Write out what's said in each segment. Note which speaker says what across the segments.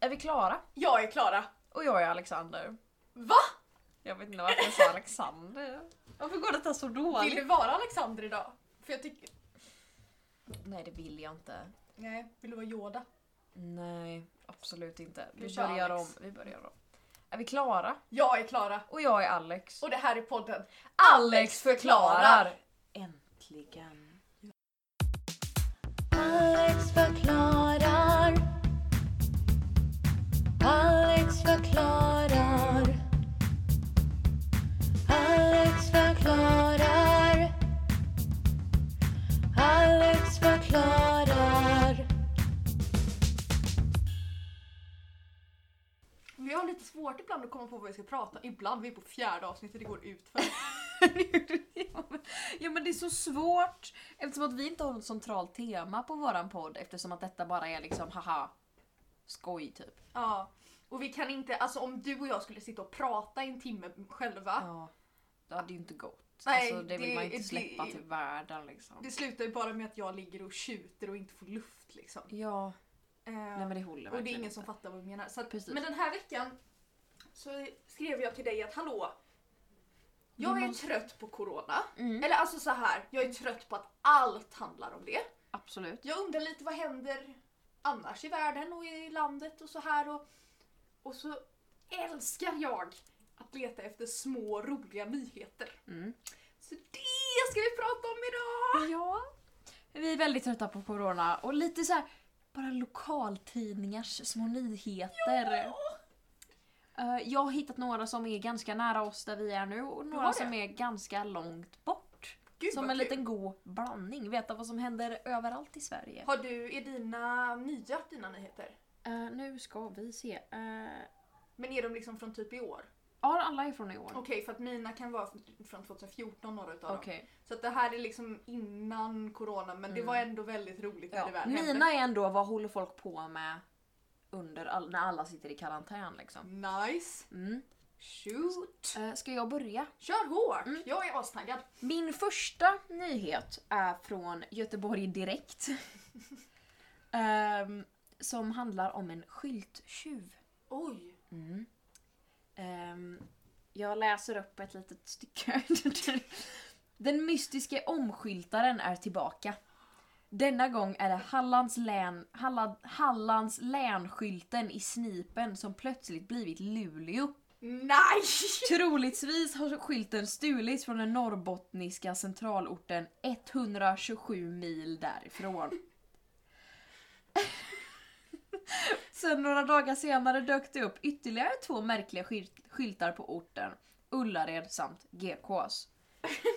Speaker 1: Är vi klara?
Speaker 2: Jag är Klara.
Speaker 1: Och jag är Alexander.
Speaker 2: Va?
Speaker 1: Jag vet inte varför jag sa Alexander. Varför går detta så
Speaker 2: Vill
Speaker 1: dåligt?
Speaker 2: du vara Alexander idag? För jag tycker...
Speaker 1: Nej det vill jag inte.
Speaker 2: Nej, vill du vara Yoda?
Speaker 1: Nej, absolut inte.
Speaker 2: Du
Speaker 1: Vi
Speaker 2: kör
Speaker 1: börjar om.
Speaker 2: Alex.
Speaker 1: Vi börjar om. Är vi klara?
Speaker 2: Jag är Klara.
Speaker 1: Och jag är Alex.
Speaker 2: Och det här är podden.
Speaker 1: Alex förklarar! Äntligen.
Speaker 3: Alex förklarar. Alex förklarar. Alex förklarar. Alex förklarar.
Speaker 2: Vi har lite svårt ibland att komma på vad vi ska prata om. Ibland, vi är på fjärde avsnittet, det går ut för.
Speaker 1: ja men det är så svårt eftersom att vi inte har något centralt tema på våran podd eftersom att detta bara är liksom haha skoj typ.
Speaker 2: Ja. Och vi kan inte, alltså om du och jag skulle sitta och prata i en timme själva.
Speaker 1: Ja. Det hade ju inte gått.
Speaker 2: Nej,
Speaker 1: alltså, det vill
Speaker 2: det-
Speaker 1: man inte
Speaker 2: det-
Speaker 1: släppa till världen liksom.
Speaker 2: Det slutar ju bara med att jag ligger och tjuter och inte får luft liksom.
Speaker 1: Ja,
Speaker 2: Eh,
Speaker 1: nej men det håller
Speaker 2: och det är
Speaker 1: verkligen
Speaker 2: ingen
Speaker 1: inte.
Speaker 2: som fattar vad vi menar. Så att,
Speaker 1: Precis.
Speaker 2: men den här veckan så skrev jag till dig att hallå,
Speaker 1: Vi
Speaker 2: jag är
Speaker 1: måste-
Speaker 2: trött på corona.
Speaker 1: Mm,
Speaker 2: Eller alltså så här, jag är trött på att allt handlar om det.
Speaker 1: absolut.
Speaker 2: Jag undrar lite vad händer annars i världen och i landet och så här och, och så älskar jag att leta efter små roliga nyheter.
Speaker 1: Mm.
Speaker 2: Så det ska vi prata om idag!
Speaker 1: Ja. Vi är väldigt trötta på corona och lite så här bara lokaltidningars små nyheter. Eh, jag har hittat några som är ganska nära oss där vi är nu och några
Speaker 2: har det?
Speaker 1: som är ganska långt bort.
Speaker 2: Gud
Speaker 1: som
Speaker 2: vad
Speaker 1: en
Speaker 2: kul.
Speaker 1: liten god blandning. Veta vad som händer överallt i Sverige.
Speaker 2: Har du, är dina nya dina nyheter?
Speaker 1: Eh, nu ska vi se. Eh,
Speaker 2: Men är de liksom från typ i år?
Speaker 1: ja, alla är från i år.
Speaker 2: Okej, för att mina kan vara från 2014 några utav dem.
Speaker 1: Okej.
Speaker 2: Så att det här är liksom innan corona men det
Speaker 1: Mm.
Speaker 2: var ändå väldigt roligt när
Speaker 1: Ja.
Speaker 2: det väl hände.
Speaker 1: Mina är ändå vad håller folk på med under all, när alla sitter i karantän liksom.
Speaker 2: Nice!
Speaker 1: Mm.
Speaker 2: Shoot! Mm.
Speaker 1: Eh, ska jag börja?
Speaker 2: Kör hårt! Jag är astaggad.
Speaker 1: Min första nyhet är från Göteborg Direkt. Ehm, som handlar om en skylttjuv.
Speaker 2: Oj!
Speaker 1: Ehm, jag läser upp ett litet stycke. Den mystiske omskyltaren är tillbaka. Denna gång är det Hallands, län, Halland, Hallands länskylten i Snipen som plötsligt blivit Luleå.
Speaker 2: Nej!
Speaker 1: Troligtvis har skylten stulits från den norrbottniska centralorten 127 mil därifrån. Sen några dagar senare dök det upp ytterligare två märkliga skyl- skyltar på orten. Ullared samt GKs.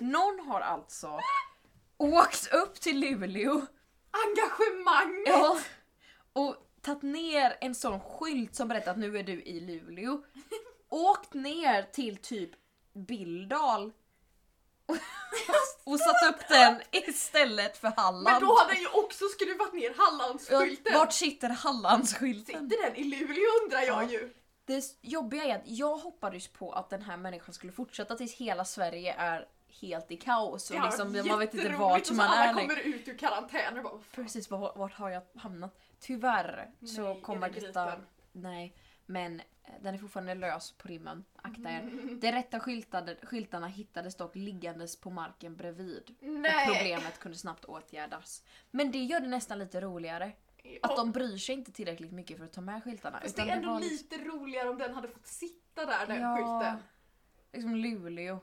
Speaker 1: Någon har alltså åkt upp till Luleå
Speaker 2: Engagemang!
Speaker 1: Ja. Och tagit ner en sån skylt som berättar att nu är du i Luleå. Åkt ner till typ Bildal. Och satt upp den istället för
Speaker 2: Men
Speaker 1: Halland.
Speaker 2: då har den ju också skruvat ner Hallandsskylten!
Speaker 1: Vart sitter Hallandsskylten?
Speaker 2: Sitter den i Luleå undrar
Speaker 1: Ja.
Speaker 2: jag ju!
Speaker 1: Det jobbiga är att jag hoppades på att den här människan skulle fortsätta tills hela Sverige är helt i kaos. Och
Speaker 2: Det har
Speaker 1: liksom,
Speaker 2: varit
Speaker 1: man vet inte vart
Speaker 2: jätteroligt och
Speaker 1: man
Speaker 2: så alla
Speaker 1: är. liksom. längre.
Speaker 2: kommer ut ur karantäner och bara
Speaker 1: Precis, vart, vart har jag hamnat? Tyvärr så
Speaker 2: Nej,
Speaker 1: kommer
Speaker 2: är det
Speaker 1: detta...
Speaker 2: gripen?
Speaker 1: Nej, men eh, den är fortfarande lös på rimmen. Akta er.
Speaker 2: Mm.
Speaker 1: De rätta skyltade, skyltarna hittades dock liggandes på marken bredvid. Och
Speaker 2: Nej!
Speaker 1: problemet kunde snabbt åtgärdas. Men det gör det nästan lite roligare. Att
Speaker 2: Och-
Speaker 1: de bryr sig inte tillräckligt mycket för att ta med skyltarna.
Speaker 2: Fast det
Speaker 1: utan
Speaker 2: är ändå
Speaker 1: var
Speaker 2: lite roligare om den hade fått sitta där, den
Speaker 1: Ja.
Speaker 2: skylten.
Speaker 1: liksom Luleå.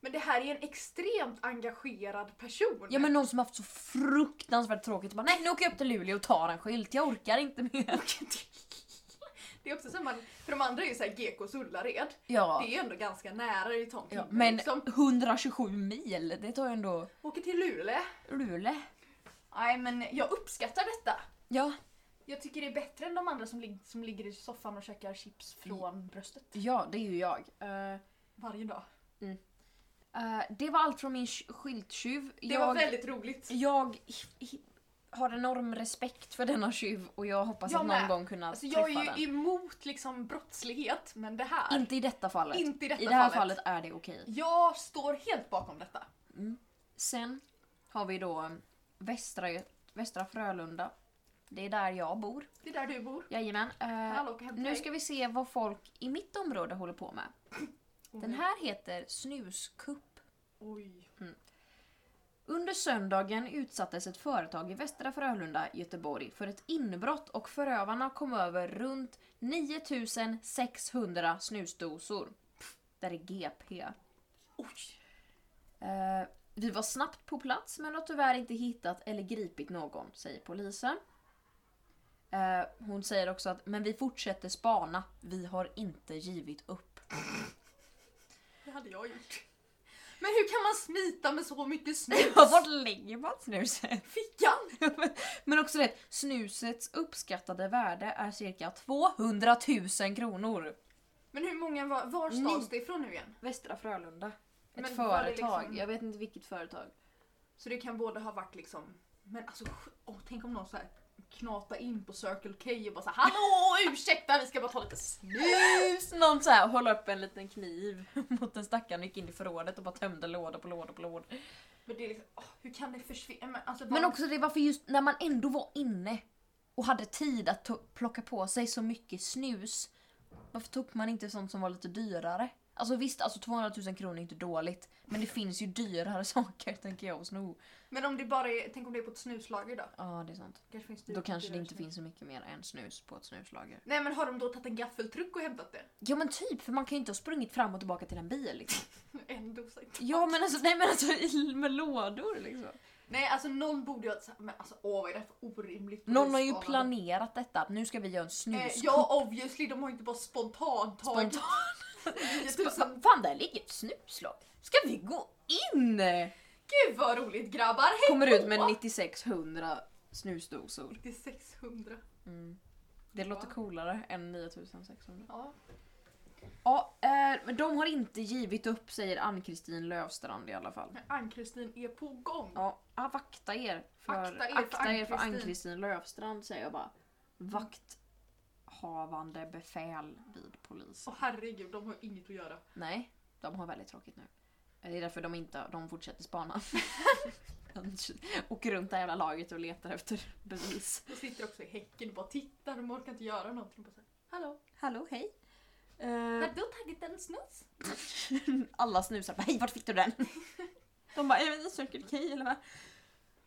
Speaker 2: Men det här är en extremt engagerad person.
Speaker 1: Ja men någon som haft så fruktansvärt tråkigt. Bara, Nej nu åker jag upp till Luleå och tar en skylt. Jag orkar inte mer.
Speaker 2: Det är också så här man, för de andra är ju såhär Gekås Ullared.
Speaker 1: Ja.
Speaker 2: Det är ju ändå ganska nära i tom
Speaker 1: Ja,
Speaker 2: timme,
Speaker 1: men
Speaker 2: liksom.
Speaker 1: 127 mil, det tar ju ändå
Speaker 2: Åker till Luleå.
Speaker 1: Luleå.
Speaker 2: Nej men jag uppskattar detta.
Speaker 1: Ja.
Speaker 2: Jag tycker det är bättre än de andra som, lig- som ligger i soffan och käkar chips från bröstet
Speaker 1: ja, det är ju jag. Eh,
Speaker 2: varje dag.
Speaker 1: eh, det var allt från min sk- skylttjuv.
Speaker 2: Det
Speaker 1: jag,
Speaker 2: var väldigt roligt.
Speaker 1: jag hi- hi- har enorm respekt för denna tjuv och jag hoppas
Speaker 2: Jag
Speaker 1: att någon
Speaker 2: med.
Speaker 1: gång kunna
Speaker 2: Alltså,
Speaker 1: träffa
Speaker 2: jag är
Speaker 1: den.
Speaker 2: ju emot liksom brottslighet, men det här.
Speaker 1: Inte i detta fallet.
Speaker 2: Inte i detta
Speaker 1: I det här fallet, är
Speaker 2: fallet.
Speaker 1: det okej.
Speaker 2: Jag står helt bakom detta.
Speaker 1: um, Sen har vi då Västra, Gö- Västra Frölunda Det är där jag bor.
Speaker 2: Det är där du bor.
Speaker 1: Jajamän. Eh,
Speaker 2: Hallå, åka hem till
Speaker 1: nu
Speaker 2: dig.
Speaker 1: ska vi se vad folk i mitt område håller på med.
Speaker 2: Oj.
Speaker 1: Den här heter Snuskupp.
Speaker 2: Oj.
Speaker 1: Under söndagen utsattes ett företag i Västra Frölunda, Göteborg för ett inbrott och förövarna kom över runt 9600 snusdosor. Pff, Där är GP.
Speaker 2: Oj.
Speaker 1: Eh, vi var snabbt på plats men har tyvärr inte hittat eller gripit någon, säger polisen. Eh, hon säger också att men vi fortsätter spana, vi har inte givit upp.
Speaker 2: Det hade jag gjort. Men hur kan man smita med så mycket snus?
Speaker 1: Vart lägger man snuset?
Speaker 2: Fickan!
Speaker 1: Men också det, snusets uppskattade värde är cirka 200 000 kronor.
Speaker 2: Men hur många var, var
Speaker 1: Ni-
Speaker 2: stals det ifrån nu igen?
Speaker 1: Västra Frölunda. Ett
Speaker 2: Men var det
Speaker 1: företag,
Speaker 2: liksom-
Speaker 1: jag vet inte vilket företag.
Speaker 2: Så det kan både ha varit liksom, men alltså sj- åh, tänk om någon så här knata in på Circle K och bara så här, hallå ursäkta vi ska bara ta lite snus.
Speaker 1: Just någon så här håller upp en liten kniv mot en stackare och gick in i förrådet och bara tömde låda på låda på låda.
Speaker 2: Men det är liksom, åh, hur kan det försvinna? Men, alltså,
Speaker 1: Men
Speaker 2: var-
Speaker 1: också det varför just när man ändå var inne och hade tid att to- plocka på sig så mycket snus. Varför tog man inte sånt som var lite dyrare? Alltså visst, alltså 200 000 kronor är inte dåligt. Men det finns ju dyrare saker tänker jag att sno.
Speaker 2: men om det bara är, tänk om det är på ett snuslager då?
Speaker 1: Ja, det är sant.
Speaker 2: Kanske finns
Speaker 1: Då kanske Typ det
Speaker 2: dyrare
Speaker 1: inte
Speaker 2: snus.
Speaker 1: finns så mycket mer än snus på ett snuslager.
Speaker 2: Nej men har de då tagit en gaffeltruck och hämtat det?
Speaker 1: Ja men typ, för man kan ju inte ha sprungit fram och tillbaka till en bil liksom.
Speaker 2: En dosa.
Speaker 1: Ja men alltså, nej men alltså i- med lådor liksom.
Speaker 2: Nej alltså någon borde ju ha, men alltså åh vad är det här för orimligt?
Speaker 1: Någon har ju
Speaker 2: polisspanande?
Speaker 1: planerat detta, att nu ska vi göra en
Speaker 2: Eh,
Speaker 1: snuskupp.
Speaker 2: ja obviously, de har ju inte bara spontant tagit
Speaker 1: Spontant. typ
Speaker 2: 9000.
Speaker 1: Fan där ligger ett snuslag. Ska vi gå in?
Speaker 2: Gud vad roligt grabbar! Hej
Speaker 1: Kommer ut med
Speaker 2: då!
Speaker 1: 9600 snusdosor.
Speaker 2: Det är 600.
Speaker 1: Mm. Det låter
Speaker 2: Ja.
Speaker 1: coolare än 9600.
Speaker 2: Ja.
Speaker 1: Ja, eh, men de har inte givit upp säger Ann-Kristin Löfstrand i alla fall.
Speaker 2: Men Ann-Kristin är på gång.
Speaker 1: Ja, ah, vakta er för
Speaker 2: Akta er för
Speaker 1: akta er för
Speaker 2: Ann-Kristin.
Speaker 1: Ann-Kristin Löfstrand säger jag bara. Vakthavande befäl vid polisen.
Speaker 2: Åh herregud, de har ju inget att göra.
Speaker 1: Nej, de har väldigt tråkigt nu. Det är därför de inte de fortsätter spana. de åker runt det här jävla laget och letar efter bevis.
Speaker 2: De sitter också i häcken och bara tittar, de orkar inte göra någonting. Bara så här, Hallå,
Speaker 1: Hallå, hej.
Speaker 2: har du tagit en snus?
Speaker 1: Eh, alla snusar bara hej vart fick du den? De bara, är det Circle K eller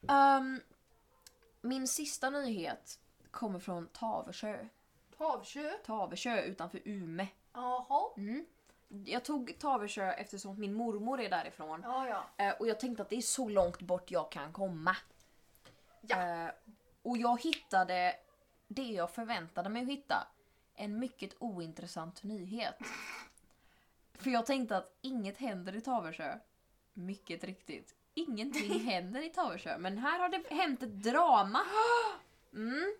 Speaker 1: vad? Um, min sista nyhet kommer från Tavesjö.
Speaker 2: Tavkö?
Speaker 1: Tavesjö utanför Ume.
Speaker 2: Jaha.
Speaker 1: Mm. Jag tog Tavesjö eftersom att min mormor är därifrån.
Speaker 2: Ja, ja.
Speaker 1: Eh, Och jag tänkte att det är så långt bort jag kan komma.
Speaker 2: Ja.
Speaker 1: Eh, Och jag hittade det jag förväntade mig att hitta. En mycket ointressant nyhet. För jag tänkte att inget händer i Taversjö. Mycket riktigt. Ingenting händer i Taversjö. Men här har det hänt ett drama. Mm.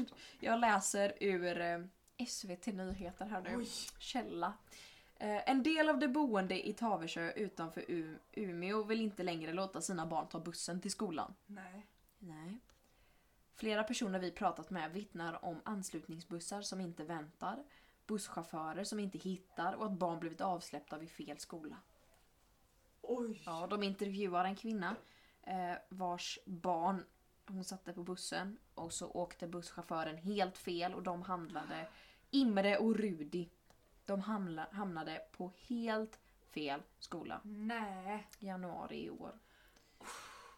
Speaker 1: Jag läser ur eh, SVT Nyheter här nu
Speaker 2: Oj.
Speaker 1: källa. Eh, En del av de boende i Tavesjö utanför U- Umeå vill inte längre låta sina barn ta bussen till skolan.
Speaker 2: Nej.
Speaker 1: Nej. Flera personer vi pratat med vittnar om anslutningsbussar som inte väntar, busschaufförer som inte hittar och att barn blivit avsläppta vid fel skola.
Speaker 2: Oj.
Speaker 1: Ja, de intervjuar en kvinna eh, vars barn hon satte på bussen och så åkte busschauffören helt fel och de handlade Imre och Rudi. De hamla, hamnade på helt fel skola.
Speaker 2: Nej.
Speaker 1: Januari i år.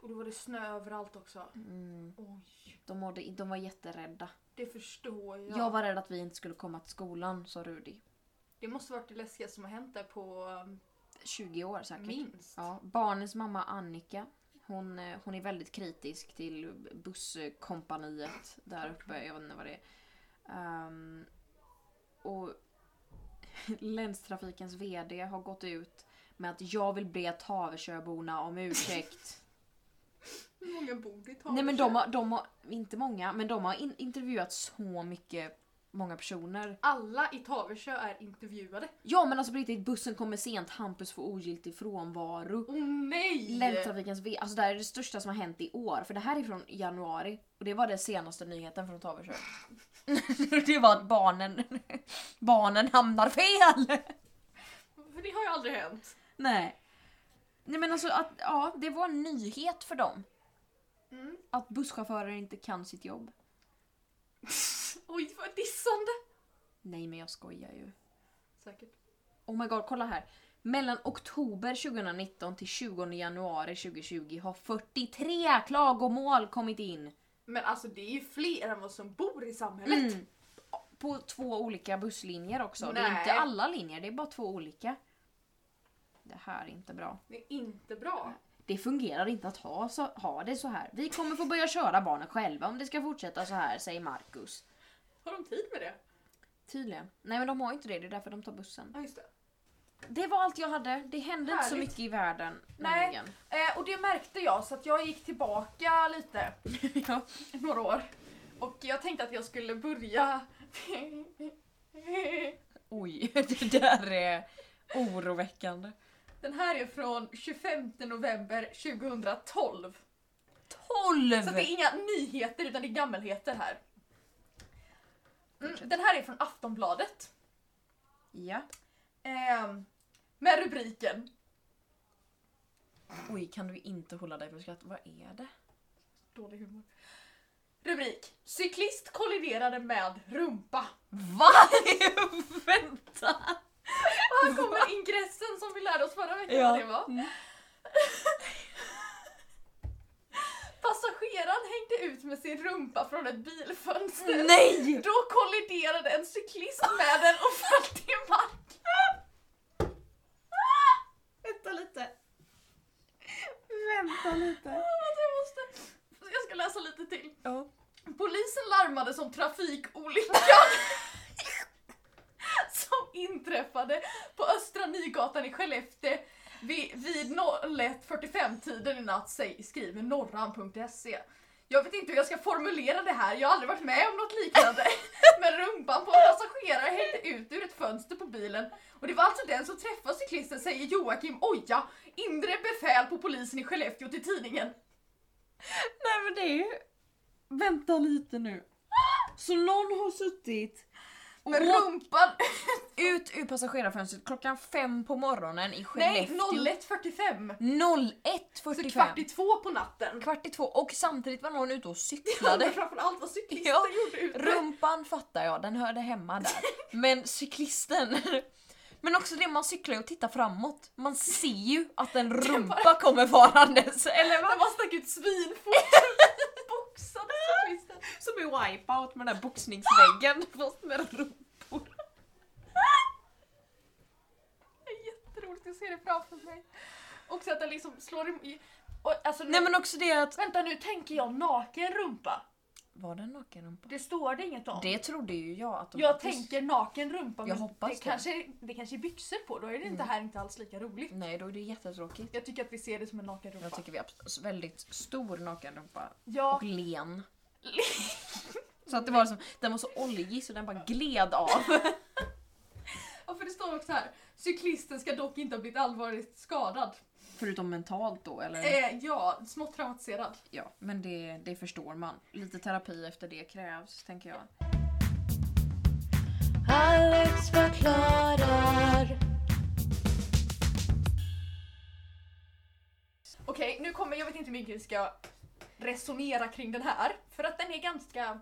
Speaker 2: Och då var det snö överallt också.
Speaker 1: Mm.
Speaker 2: Oj.
Speaker 1: De, mådde, de var jätterädda.
Speaker 2: Det förstår jag.
Speaker 1: Jag var rädd att vi inte skulle komma till skolan, sa Rudi.
Speaker 2: Det måste varit det läskigaste som har hänt där på um,
Speaker 1: 20 år säkert.
Speaker 2: minst.
Speaker 1: Ja, barnens mamma Annika, hon, eh, hon är väldigt kritisk till busskompaniet där uppe. Jag vet inte vad det är. Ehm, och Länstrafikens VD har gått ut med att jag vill be Tavesjöborna om ursäkt.
Speaker 2: Hur många bor i Tavkö?
Speaker 1: Nej men de har, de har, inte många, men de har in, intervjuat så mycket, många personer.
Speaker 2: Alla i Tavkö är intervjuade.
Speaker 1: Ja men alltså på riktigt, bussen kommer sent, Hampus får ogiltig frånvaro.
Speaker 2: Åh nej!
Speaker 1: Länstrafikens V, alltså det här är det största som har hänt i år. För det här är från januari. Och det var den senaste nyheten från Tavelsjö. det var att barnen, barnen hamnar fel!
Speaker 2: För det har ju aldrig hänt.
Speaker 1: Nej. Nej men alltså att, ja det var en nyhet för dem.
Speaker 2: Mm.
Speaker 1: Att busschaufförer inte kan sitt jobb.
Speaker 2: Oj, vad dissande!
Speaker 1: Nej men jag skojar ju.
Speaker 2: Säkert.
Speaker 1: Oh my god, kolla här. Mellan oktober 2019 till 20 januari 2020 har 43 klagomål kommit in.
Speaker 2: Men alltså det är ju fler än vad som bor i samhället.
Speaker 1: Mm. På två olika busslinjer också. Det är
Speaker 2: Nej.
Speaker 1: inte alla linjer, det är bara två olika. Det här är inte bra.
Speaker 2: Det är inte bra.
Speaker 1: Det fungerar inte att ha, så, ha det så här. Vi kommer få börja köra barnen själva om det ska fortsätta så här, säger Marcus.
Speaker 2: Har de tid med det?
Speaker 1: Tydligen. Nej men de har ju inte det, det är därför de tar bussen.
Speaker 2: Ja, just det.
Speaker 1: Det var allt jag hade. Det hände inte så
Speaker 2: Härligt.
Speaker 1: mycket i världen.
Speaker 2: Nej.
Speaker 1: nämligen.
Speaker 2: Eh, och det märkte jag så att jag gick tillbaka lite,
Speaker 1: ja.
Speaker 2: några år. Och jag tänkte att jag skulle börja...
Speaker 1: Oj, det där är oroväckande.
Speaker 2: Den här är från 25 november 2012.
Speaker 1: 12!
Speaker 2: Så att det är inga nyheter utan det är gammelheter här. Mm, den här är från Aftonbladet.
Speaker 1: Ja.
Speaker 2: Ehm, med rubriken
Speaker 1: Oj, kan du inte hålla dig för skratt? Vad är det?
Speaker 2: Dålig humor. Rubrik. Cyklist kolliderade med rumpa.
Speaker 1: Va? Vänta!
Speaker 2: Och här kommer ingressen som vi lärde oss förra veckan vad det var.
Speaker 1: Mm.
Speaker 2: Passageraren hängde ut med sin rumpa från ett bilfönster.
Speaker 1: Nej!
Speaker 2: Då kolliderade en cyklist med den och föll till marken.
Speaker 1: Vänta lite. Vänta lite.
Speaker 2: Vänta, Jag, måste... jag ska läsa lite till.
Speaker 1: Ja.
Speaker 2: Polisen larmade som trafikolyckan som inträffade på Östra Nygatan i Skellefteå vid, vid 01.45-tiden i natt, säg- skriver norran.se. Jag vet inte hur jag ska formulera det här, jag har aldrig varit med om något liknande. Men rumpan på en passagerare hängde ut ur ett fönster på bilen och det var alltså den som träffade cyklisten, säger Joakim Oja, inre befäl på polisen i Skellefteå till tidningen.
Speaker 1: Nej men det är ju... Vänta lite nu. Så någon har suttit och
Speaker 2: Med
Speaker 1: åkt
Speaker 2: rumpan
Speaker 1: ut ur passagerarfönstret klockan fem på morgonen i
Speaker 2: Nej,
Speaker 1: Skellefteå.
Speaker 2: 01.45!
Speaker 1: 01.45.
Speaker 2: Så Alltså, kvart i två på natten.
Speaker 1: kvart i två och samtidigt var någon ute och
Speaker 2: Men
Speaker 1: cyklade.
Speaker 2: framförallt vad cyklister
Speaker 1: Ja.
Speaker 2: gjorde ute.
Speaker 1: Rumpan fattar jag, den hörde hemma där. Men cyklisten... Men också det, man cyklar ju och tittar framåt. Man ser ju att en rumpa kommer farandes. Eller
Speaker 2: När
Speaker 1: vad?
Speaker 2: man stack ut svinfot. Boxade cyklister.
Speaker 1: Som i Wipeout med den där boxningsväggen fast med rumpor.
Speaker 2: Det är jätteroligt, jag ser det framför mig. Också att den liksom slår i... Och, alltså,
Speaker 1: Nej men också det att...
Speaker 2: Vänta nu tänker jag naken rumpa.
Speaker 1: Var det en nakenrumpa?
Speaker 2: Det står det inget om.
Speaker 1: Det trodde ju jag att de
Speaker 2: jag
Speaker 1: hade-
Speaker 2: tänker naken rumpa
Speaker 1: Jag
Speaker 2: men
Speaker 1: hoppas
Speaker 2: det, Mm.
Speaker 1: det.
Speaker 2: Kanske, det kanske är byxor på, då är det inte här inte alls lika roligt.
Speaker 1: Nej, då är det jättetråkigt.
Speaker 2: Jag tycker att vi ser det som en naken rumpa.
Speaker 1: Jag tycker vi har abs- väldigt stor nakenrumpa.
Speaker 2: Ja,
Speaker 1: Och len. Så att det var som, den var så oljig så den bara gled av.
Speaker 2: och för det står också här, cyklisten ska dock inte ha blivit allvarligt skadad.
Speaker 1: Förutom mentalt då eller?
Speaker 2: Eh, ja, smått traumatiserad.
Speaker 1: Ja, men det, det förstår man. Lite terapi efter det krävs, tänker jag.
Speaker 3: Alex förklarar.
Speaker 2: Okej, nu kommer, jag vet inte hur mycket vi ska resonera kring den här. För att den är ganska,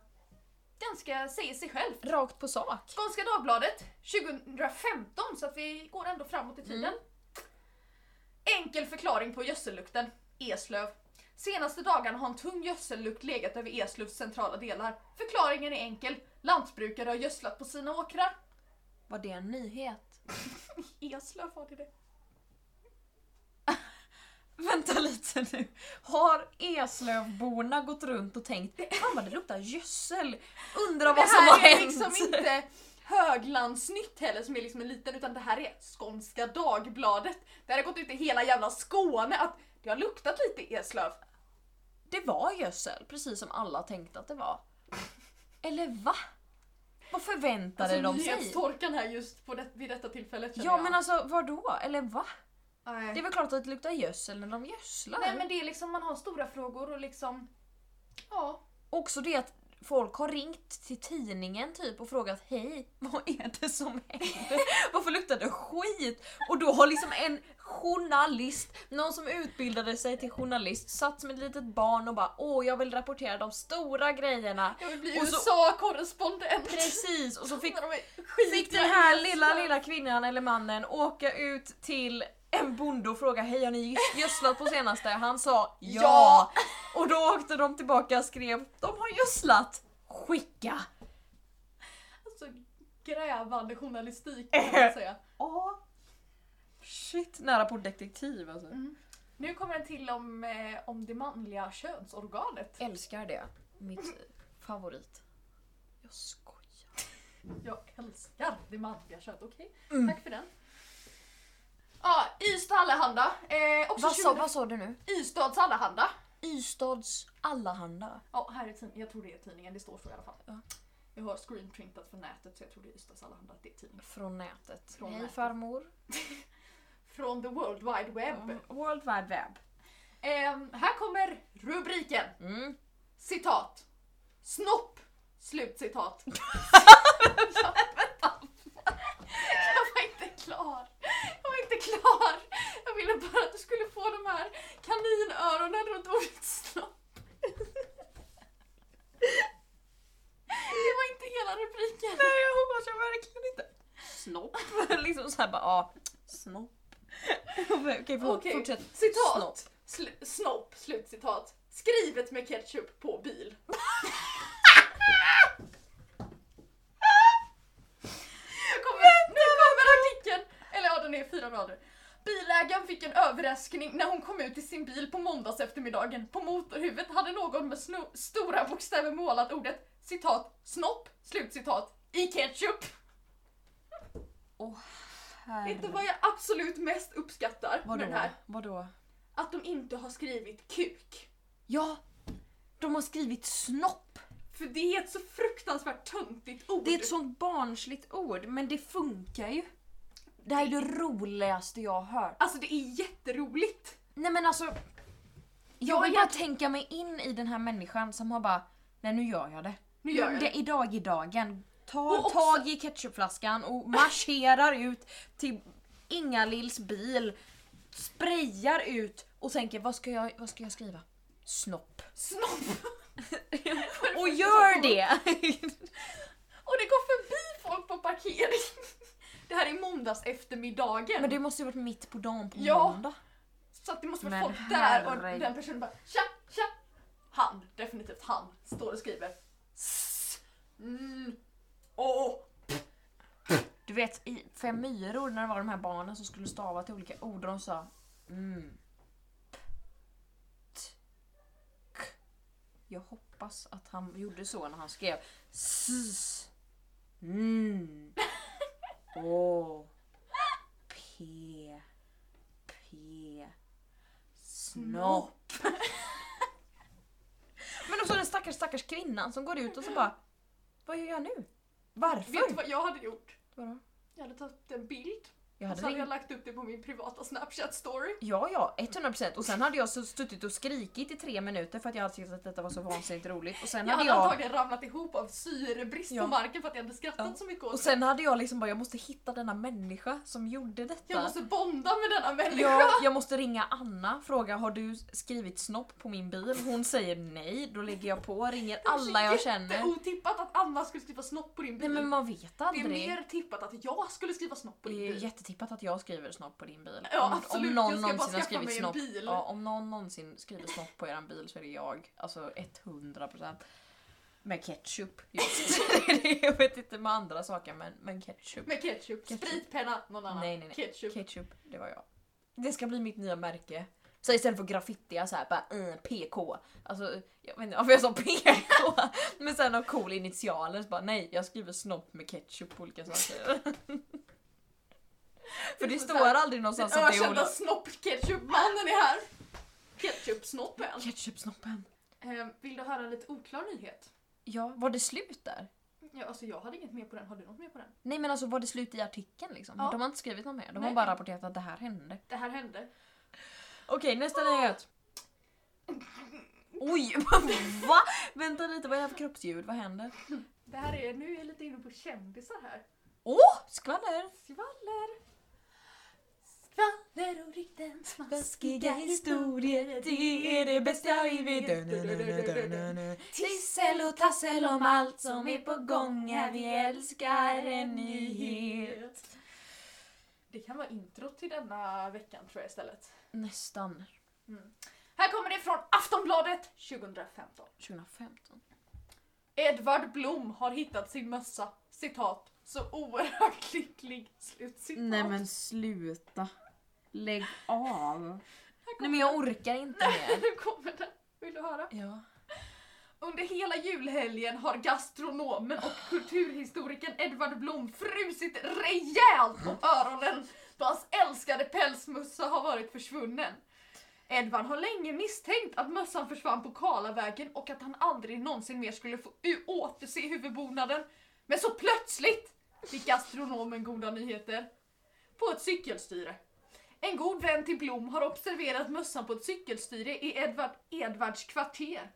Speaker 2: ganska, säger sig själv.
Speaker 1: Rakt på sak.
Speaker 2: Skånska Dagbladet 2015, så att vi går ändå framåt i tiden. Enkel förklaring på gödsellukten, Eslöv. Senaste dagarna har en tung gödsellukt legat över Eslövs centrala delar. Förklaringen är enkel, lantbrukare har gödslat på sina åkrar.
Speaker 1: Var det en nyhet?
Speaker 2: Eslöv har det det.
Speaker 1: Vänta lite nu. Har Eslövborna gått runt och tänkt Fan vad det luktar gödsel? Undrar
Speaker 2: Det
Speaker 1: vad som har
Speaker 2: här är
Speaker 1: hänt?
Speaker 2: liksom inte Höglandsnytt heller som är liksom en liten utan det här är Skånska Dagbladet. Det här har gått ut i hela jävla Skåne att det har luktat lite Eslöv.
Speaker 1: Det var gödsel, precis som alla tänkte att det var. Eller va? Vad förväntade
Speaker 2: Alltså
Speaker 1: de sig?
Speaker 2: nyhetstorkan här just på det, vid detta tillfället känner
Speaker 1: Ja
Speaker 2: jag.
Speaker 1: men alltså vadå? Eller va?
Speaker 2: Nej.
Speaker 1: Det är väl klart att det luktar gödsel när de gödslar?
Speaker 2: Nej men det är liksom man har stora frågor och liksom ja.
Speaker 1: Också det att folk har ringt till tidningen typ och frågat hej, vad är det som händer? Varför luktar det skit? Och då har liksom en journalist, någon som utbildade sig till journalist, satt som ett litet barn och bara åh jag vill rapportera de stora grejerna.
Speaker 2: Jag vill bli
Speaker 1: Och så-
Speaker 2: USA-korrespondent. Alltså,
Speaker 1: Precis! Och så fick
Speaker 2: När de är skitiga
Speaker 1: fick den här
Speaker 2: i
Speaker 1: lilla,
Speaker 2: Ryssland.
Speaker 1: lilla kvinnan eller mannen åka ut till en bonde och fråga hej har ni göds- gödslat på senaste? Han sa ja.
Speaker 2: Ja.
Speaker 1: Och då åkte de tillbaka och skrev de har gödslat, skicka!
Speaker 2: Alltså, grävande journalistik kan man säga.
Speaker 1: Ja. Shit, nära på detektiv alltså.
Speaker 2: Nu kommer en till om, eh, om det manliga könsorganet.
Speaker 1: Älskar det. Mitt favorit. Jag skojar.
Speaker 2: Jag älskar det manliga könet, okej?
Speaker 1: Mm.
Speaker 2: Tack för den. Ja, Ystad Allehanda. Eh, också
Speaker 1: Vad sa,
Speaker 2: 20...
Speaker 1: vad sa du nu?
Speaker 2: Ystads Allehanda.
Speaker 1: Ystads Allahanda.
Speaker 2: Ja, här är tidningen. Jag tror det är tidningen, det står så i alla fall.
Speaker 1: Ja.
Speaker 2: Jag har screenprintat från nätet så jag tror det är Ystads Allehanda, att det är tidningen.
Speaker 1: Från nätet.
Speaker 2: Från
Speaker 1: Hej
Speaker 2: nätet.
Speaker 1: farmor.
Speaker 2: Från the world wide web.
Speaker 1: World Wide Web.
Speaker 2: Eh, här kommer rubriken.
Speaker 1: Mm.
Speaker 2: Citat. Snopp. Slutcitat. jag, jag var inte klar. Jag var inte klar. Jag ville bara att du skulle få de här kaninöronen runt ordet snopp. Det var inte hela rubriken.
Speaker 1: Nej jag hoppas jag verkligen inte. Snopp. liksom såhär bara ja, snopp. Okej förlåt,
Speaker 2: Okej,
Speaker 1: fortsätt.
Speaker 2: Citat.
Speaker 1: Snopp.
Speaker 2: Sl- snopp. Slutcitat. Skrivet med ketchup på bil. nu kommer, nu kommer artikeln. Eller ja, den är fyra rader. Bilägaren fick en överraskning när hon kom ut i sin bil på måndags eftermiddagen. På motorhuvudet hade någon med sno- stora bokstäver målat ordet citat snopp slutcitat i ketchup.
Speaker 1: Åh
Speaker 2: Inte
Speaker 1: herre.
Speaker 2: vad jag absolut mest uppskattar med den
Speaker 1: Vadå?
Speaker 2: här.
Speaker 1: Vadå?
Speaker 2: Att de inte har skrivit kuk.
Speaker 1: Ja! De har skrivit snopp.
Speaker 2: För det är ett så fruktansvärt töntigt ord.
Speaker 1: Det är ett sånt barnsligt ord, men det funkar ju. Det här är det roligaste jag har hört. Ah,
Speaker 2: Alltså det är jätteroligt.
Speaker 1: Nej men alltså. Jag
Speaker 2: Jag
Speaker 1: vill
Speaker 2: är
Speaker 1: bara tänka mig in i den här människan som har bara, nej nu gör jag det.
Speaker 2: Nu gör jag
Speaker 1: det
Speaker 2: det.
Speaker 1: idag är dagen. Ta
Speaker 2: Och också-
Speaker 1: tag i ketchupflaskan och marscherar ut till Inga-Lills bil. Sprayar ut och tänker vad ska jag, vad ska jag skriva? Snopp.
Speaker 2: Snopp!
Speaker 1: Och gör det!
Speaker 2: Och det går förbi folk på parkering. Det här är måndags eftermiddagen.
Speaker 1: Men det måste ju varit mitt på dagen på
Speaker 2: Ja.
Speaker 1: måndag.
Speaker 2: Så att det måste vara
Speaker 1: Men
Speaker 2: folk där och
Speaker 1: herregud.
Speaker 2: den personen bara tja, tja. Han, definitivt han, står och skriver. S, mm, åh.
Speaker 1: Du vet i Fem myror när det var de här barnen som skulle stava till olika ord och de sa mm, p, t, k. Jag hoppas att han gjorde så när han skrev s, mm, å, p, p, snopp. Men också den stackars stackars kvinnan som går ut och så bara Vad gör jag nu?
Speaker 2: Vet du
Speaker 1: Varför?
Speaker 2: vad jag hade gjort?
Speaker 1: Vadå?
Speaker 2: Jag hade tagit en bild
Speaker 1: Alltså, Jag
Speaker 2: och
Speaker 1: hade
Speaker 2: så hade
Speaker 1: ringt
Speaker 2: jag lagt upp det på min privata snapchat story.
Speaker 1: Ja, ja, 100% och sen hade jag så- suttit och skrikit i tre minuter för att jag hade tyckt att detta var så vansinnigt roligt och sen hade
Speaker 2: Jag hade
Speaker 1: jag
Speaker 2: antagligen ramlat ihop av syrebrist
Speaker 1: Ja.
Speaker 2: på marken för att jag hade skrattat
Speaker 1: Ja.
Speaker 2: så mycket åt
Speaker 1: och sen hade jag liksom bara jag måste hitta denna människa som gjorde detta.
Speaker 2: Jag måste bonda med denna människa.
Speaker 1: jag, jag måste ringa Anna fråga har du skrivit snopp på min bil? Hon säger nej, då lägger jag på ringer alla jag
Speaker 2: Det är
Speaker 1: känner.
Speaker 2: otippat att Anna skulle skriva snopp på din
Speaker 1: Nej
Speaker 2: bil.
Speaker 1: men man vet
Speaker 2: det är
Speaker 1: aldrig.
Speaker 2: mer tippat att jag skulle skriva snopp på
Speaker 1: Det
Speaker 2: din
Speaker 1: är
Speaker 2: bil.
Speaker 1: jättetippat att jag skriver snopp på din bil.
Speaker 2: Ja,
Speaker 1: om,
Speaker 2: absolut.
Speaker 1: om
Speaker 2: Jag
Speaker 1: någon
Speaker 2: ska bara
Speaker 1: någonsin har
Speaker 2: skaffa
Speaker 1: skrivit
Speaker 2: mig en
Speaker 1: snopp.
Speaker 2: bil.
Speaker 1: Ja, om någon någonsin skriver snopp på eran bil så är det jag. Alltså 100%. Med ketchup. Just. jag vet inte med andra saker men, men ketchup.
Speaker 2: Med ketchup,
Speaker 1: Ketchup.
Speaker 2: spritpenna, någon annan.
Speaker 1: Nej, nej, nej.
Speaker 2: Ketchup.
Speaker 1: Ketchup, det var jag. Det ska bli mitt nya märke. Så istället för graffitia såhär bara mm, PK. Alltså jag vet inte varför jag sa PK. men sen av cool initialer så bara nej jag skriver snopp med ketchup på olika saker. för det
Speaker 2: Det är
Speaker 1: står
Speaker 2: så här,
Speaker 1: aldrig
Speaker 2: Den
Speaker 1: någonstans att det är
Speaker 2: ökända
Speaker 1: Ola.
Speaker 2: snopp-ketchup-mannen är här. Ketchup-snoppen.
Speaker 1: Ketchupsnoppen.
Speaker 2: Eh, vill du höra en lite oklar nyhet?
Speaker 1: Ja, var det slut där?
Speaker 2: Ja, alltså jag hade inget mer på den, har du något mer på den?
Speaker 1: Nej men alltså var det slut i artikeln liksom?
Speaker 2: Ja.
Speaker 1: De har inte skrivit något mer. De har
Speaker 2: Nej.
Speaker 1: bara rapporterat att det här hände.
Speaker 2: Det här hände.
Speaker 1: Okej nästa nyhet. Oj, va? Vänta lite, vad är det här för kroppsljud? Vad händer?
Speaker 2: Det här är, nu är jag lite inne på kändisar här.
Speaker 1: Åh, skvaller!
Speaker 2: Skvaller! Skvaller och rykten,
Speaker 1: Läskiga historier, det är det bästa jag vet. Trissel och tassel om allt som är på gång här, vi älskar en nyhet.
Speaker 2: Det kan vara intro till denna veckan tror jag istället.
Speaker 1: Nästan.
Speaker 2: Här kommer det från Aftonbladet 2015.
Speaker 1: 2015.
Speaker 2: Edvard Blom har hittat sin mössa, citat, så oerhört lycklig, slutcitat.
Speaker 1: Nej men sluta. Lägg av.
Speaker 2: Här kommer
Speaker 1: Nej men jag orkar inte mer.
Speaker 2: Nu kommer den. Vill du höra?
Speaker 1: Ja.
Speaker 2: Under hela julhelgen har gastronomen och kulturhistorikern Edvard Blom frusit rejält om öronen då hans älskade pälsmössa har varit försvunnen. Edvard har länge misstänkt att mössan försvann på Karlavägen och att han aldrig någonsin mer skulle få u- återse huvudbonaden. Men så plötsligt fick gastronomen goda nyheter. På ett cykelstyre. En god vän till Blom har observerat mössan på ett cykelstyre i Edvard Edvards kvarter.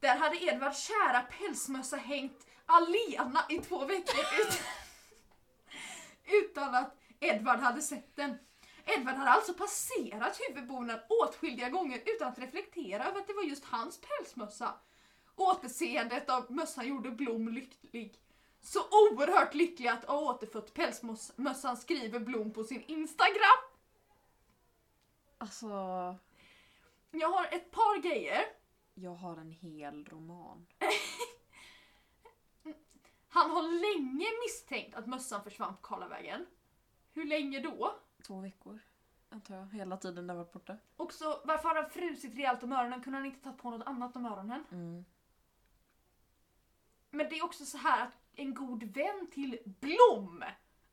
Speaker 2: Där hade Edvards kära pälsmössa hängt alena i två veckor ut- utan att Edvard hade sett den. Edvard hade alltså passerat huvudbonaden åtskilliga gånger utan att reflektera över att det var just hans pälsmössa. Återseendet av mössan gjorde Blom lycklig. Så oerhört lycklig att ha återfått pälsmössan skriver Blom på sin Instagram.
Speaker 1: Alltså,
Speaker 2: Jag har ett par grejer.
Speaker 1: jag har en hel roman.
Speaker 2: Han har länge misstänkt att mössan försvann på Karlavägen. Hur länge då?
Speaker 1: Två veckor, antar jag. Hela tiden den varit borta.
Speaker 2: Och så, varför har han frusit rejält om öronen? Kunde han inte tagit på något annat om öronen?
Speaker 1: Mm.
Speaker 2: Men det är också så här att en god vän till Blom.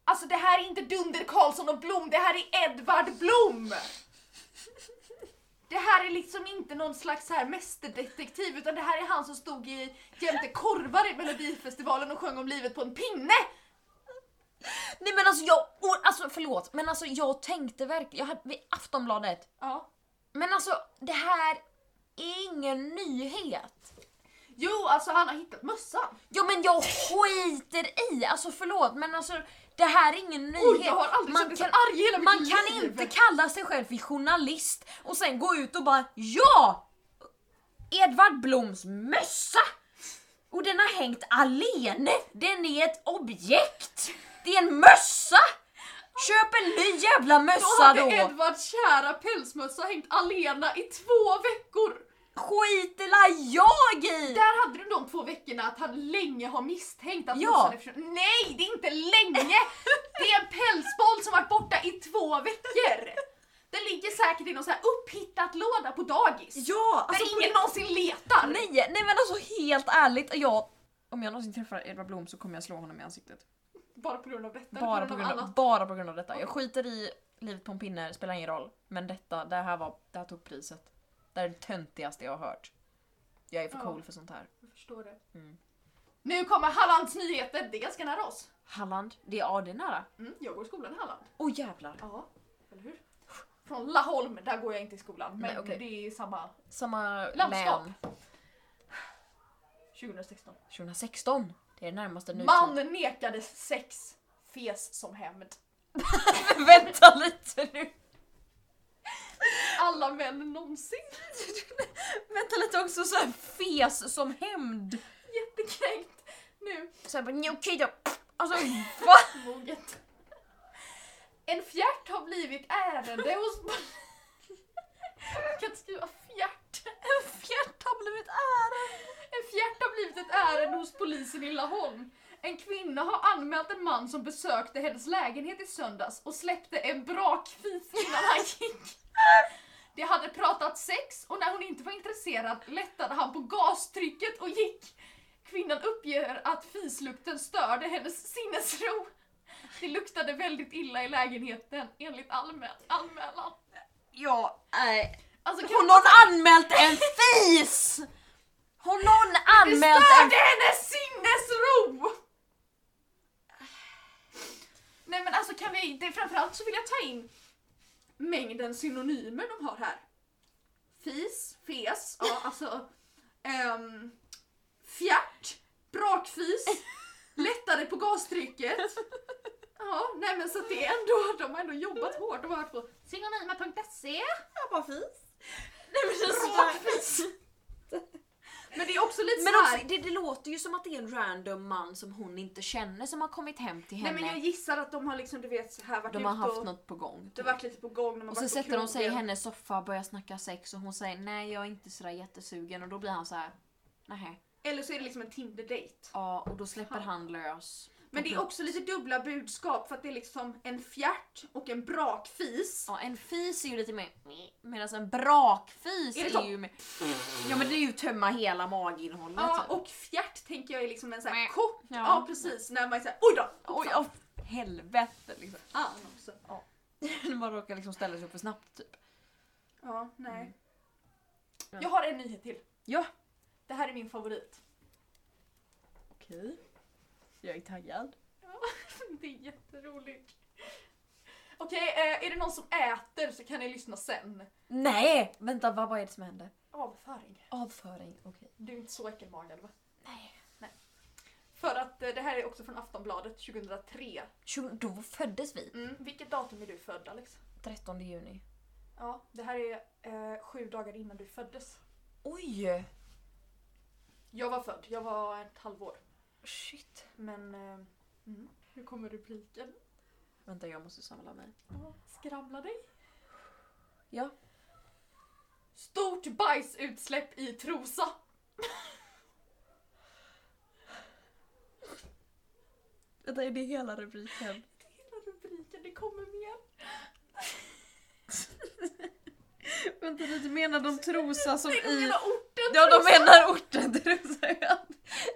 Speaker 2: Alltså det här är inte Dunder Karlsson och Blom, det här är Edvard Blom! Det här är liksom inte någon slags så här mästerdetektiv utan det här är han som stod i jämte korvar i Melodifestivalen och sjöng om livet på en pinne!
Speaker 1: Nej men alltså jag, or- alltså förlåt, men alltså jag tänkte verkligen, jag hade vid Aftonbladet.
Speaker 2: Ja.
Speaker 1: Men alltså det här är ingen nyhet.
Speaker 2: Jo, alltså han har hittat mössan.
Speaker 1: Ja men jag skiter i, alltså förlåt men alltså det här är ingen nyhet.
Speaker 2: Oj, jag har aldrig
Speaker 1: man
Speaker 2: sett dig så
Speaker 1: kan,
Speaker 2: arg i hela mitt
Speaker 1: man kan
Speaker 2: liv.
Speaker 1: inte kalla sig själv för journalist och sen gå ut och bara ja! Edvard Bloms mössa! Och den har hängt alene, den är ett objekt! Det är en mössa! Köp en ny jävla
Speaker 2: Då
Speaker 1: mössa
Speaker 2: hade
Speaker 1: då!
Speaker 2: Edvards kära pälsmössa hängt alena i två veckor!
Speaker 1: Skiter la jag i!
Speaker 2: Där hade du de två veckorna att han länge har misstänkt att
Speaker 1: Ja.
Speaker 2: mössan är försvunnen. Nej, det är inte länge! Det är en pälsboll som varit borta i två veckor! Den ligger säkert i någon så här upphittat låda på dagis.
Speaker 1: Ja!
Speaker 2: där
Speaker 1: Alltså, på-
Speaker 2: ingen någonsin letar!
Speaker 1: nej, nej men alltså helt ärligt, jag... Om jag någonsin träffar Edvard Blom så kommer jag slå honom i ansiktet.
Speaker 2: Bara på grund av detta,
Speaker 1: Bara
Speaker 2: eller
Speaker 1: på
Speaker 2: något
Speaker 1: grund av,
Speaker 2: annat.
Speaker 1: bara på grund av detta. Jag skiter i livet på en pinne, spelar ingen roll. Men detta, det här, var, det här tog priset. Det här är det töntigaste jag har hört. Jag är för
Speaker 2: Ja.
Speaker 1: cool för sånt här.
Speaker 2: Jag förstår det.
Speaker 1: Mm.
Speaker 2: Nu kommer Hallands nyheter, det är ganska nära oss.
Speaker 1: Halland, det är, ja, det är nära.
Speaker 2: Mm, jag går i skolan i Halland.
Speaker 1: Åh jävlar!
Speaker 2: Ja, eller hur? Från Laholm, där går jag inte i skolan. Men
Speaker 1: Nej, okej.
Speaker 2: det är samma
Speaker 1: Samma
Speaker 2: Landskap.
Speaker 1: län.
Speaker 2: 2016.
Speaker 1: 2016. Det är det närmaste nu.
Speaker 2: Man nekades sex, fes som hämnd.
Speaker 1: typ. Vänta lite nu!
Speaker 2: Alla män någonsin.
Speaker 1: Vänta lite också, så här fes som hämnd.
Speaker 2: Jättekränkt. Nu,
Speaker 1: Såhär bara new kid och- Alltså va?
Speaker 2: moget. En fjärt har blivit ärende hos... pol- Jag kan inte skriva fjärt.
Speaker 1: En fjärt har blivit ärad!
Speaker 2: En fjärt har blivit ett ärende hos polisen i Laholm. En kvinna har anmält en man som besökte hennes lägenhet i söndags och släppte en brakfis innan han gick. De hade pratat sex och när hon inte var intresserad lättade han på gastrycket och gick. Kvinnan uppger att fislukten störde hennes sinnesro. Det luktade väldigt illa i lägenheten enligt allmä- anmälan.
Speaker 1: Ja, nej.
Speaker 2: Alltså,
Speaker 1: Har någon anmält en fis? Har någon
Speaker 2: Det
Speaker 1: anmält en...
Speaker 2: störde hennes sinnesro! Nej men alltså kan vi, det, framförallt så vill jag ta in mängden synonymer de har här. fis, fes, ja, alltså ehm, fjärt, brakfis, lättade på gastrycket. Ja, nej men så att det är ändå, de har ändå jobbat hårt och varit på synonyma.se.
Speaker 4: Jag bara fis.
Speaker 2: Nej men det är brakfis! Men det är också lite
Speaker 1: Men
Speaker 2: så här.
Speaker 1: också, det, det låter ju som att det är en random man som hon inte känner som har kommit hem till
Speaker 2: nej
Speaker 1: henne.
Speaker 2: men jag gissar att de har liksom du vet så här varit
Speaker 1: De
Speaker 2: ute
Speaker 1: har haft
Speaker 2: och,
Speaker 1: något på gång.
Speaker 2: det har varit lite på gång. De har
Speaker 1: Och så
Speaker 2: varit på
Speaker 1: sätter de sig i
Speaker 2: krogen.
Speaker 1: hennes soffa och börjar snacka sex och hon säger nej jag är inte sådär jättesugen och då blir han så här. nej.
Speaker 2: Eller så är det liksom en Tinder-date.
Speaker 1: Ja och då släpper han lös.
Speaker 2: Men
Speaker 1: Mm.
Speaker 2: det är också lite dubbla budskap för att det är liksom en fjärt och en brakfis.
Speaker 1: Ja, en fis är ju lite mer medan en brakfis
Speaker 2: Är det
Speaker 1: är,
Speaker 2: så?
Speaker 1: ju mer... Ja men det är ju tömma hela maginnehållet.
Speaker 2: Ja,
Speaker 1: typ.
Speaker 2: och fjärt tänker jag är liksom en sån här
Speaker 1: Mäh.
Speaker 2: kort, ja,
Speaker 1: Ja.
Speaker 2: precis, när man är såhär oj då!
Speaker 1: Oj, ja, helvete liksom.
Speaker 2: Fan också.
Speaker 1: Man råkar liksom ställa sig upp för snabbt typ.
Speaker 2: Ja, nej.
Speaker 1: Ja.
Speaker 2: Jag har en nyhet till.
Speaker 1: Mm. Ja.
Speaker 2: Det här är min favorit.
Speaker 1: Okej. Jag är taggad.
Speaker 2: Det är jätteroligt. Okej, eh, är det någon som äter så kan ni lyssna sen.
Speaker 1: Nej! Vänta, vad, vad är det som händer?
Speaker 2: Avföring.
Speaker 1: Avföring, okej.
Speaker 2: Du är inte så äckelmagad va?
Speaker 1: Nej.
Speaker 2: För att eh, det här är också från Aftonbladet 2003.
Speaker 1: Tjo- Då föddes vi.
Speaker 2: Mm. Vilket datum är du född Alex?
Speaker 1: 13 juni.
Speaker 2: Ja, det här är eh, sju dagar innan du föddes.
Speaker 1: Oj!
Speaker 2: Jag var född, jag var ett halvår.
Speaker 1: Shit.
Speaker 2: Men... Eh, mm. Hur kommer repliken?
Speaker 1: Vänta, jag måste samla mig.
Speaker 2: Ja, Skramla dig.
Speaker 1: Ja.
Speaker 2: Stort bajsutsläpp i Trosa.
Speaker 1: Vänta, är det hela rubriken?
Speaker 2: Hela rubriken, det kommer mer.
Speaker 1: Vänta lite, menar de Trosa som
Speaker 2: Det är hela orten
Speaker 1: Ja, de
Speaker 2: Trosa.
Speaker 1: menar orten Trosa.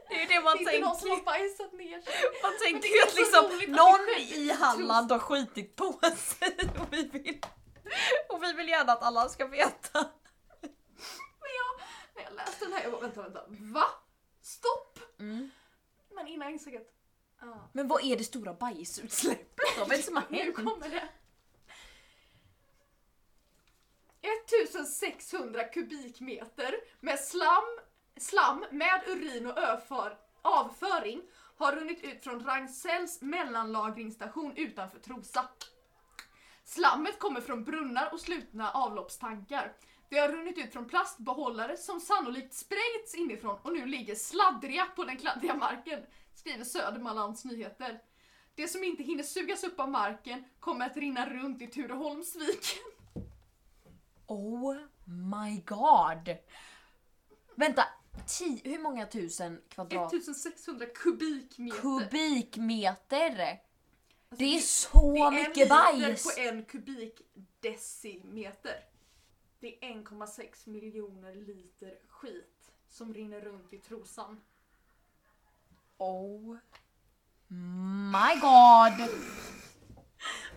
Speaker 1: Det är ju det man
Speaker 2: Det är inte någon som
Speaker 1: tänker.
Speaker 2: har bajsat ner sig.
Speaker 1: Man
Speaker 2: det
Speaker 1: tänker
Speaker 2: är
Speaker 1: ju att
Speaker 2: så roligt
Speaker 1: liksom
Speaker 2: att
Speaker 1: någon
Speaker 2: det sker
Speaker 1: i Halland har skitit på sig och vi vill, och vi vill gärna att alla ska veta.
Speaker 2: När jag läste den här, jag bara vänta, vänta. Va? Stopp! Men innan jag insåg att... Ah.
Speaker 1: Mm. Men vad är det stora bajsutsläppet då? Vad är det som har
Speaker 2: Nu
Speaker 1: hänt?
Speaker 2: kommer det. 1600 kubikmeter med slam, slam med urin och öför, avföring har runnit ut från Ragn-Sells mellanlagringsstation utanför Trosa. Slammet kommer från brunnar och slutna avloppstankar. Det har runnit ut från plastbehållare som sannolikt sprängts inifrån och nu ligger sladdriga på den kladdiga marken, skriver Södermanlands Nyheter. Det som inte hinner sugas upp av marken kommer att rinna runt i Tureholmsviken.
Speaker 1: Oh my god! Vänta, ti, hur många tusen kvadrat?
Speaker 2: 1600 kubikmeter.
Speaker 1: Kubikmeter!
Speaker 2: Alltså,
Speaker 1: Det är så
Speaker 2: det är
Speaker 1: mycket
Speaker 2: en liter
Speaker 1: bajs!
Speaker 2: på en kubikdecimeter. Det är 1,6 miljoner liter skit som rinner runt i trosan.
Speaker 1: Oh my god!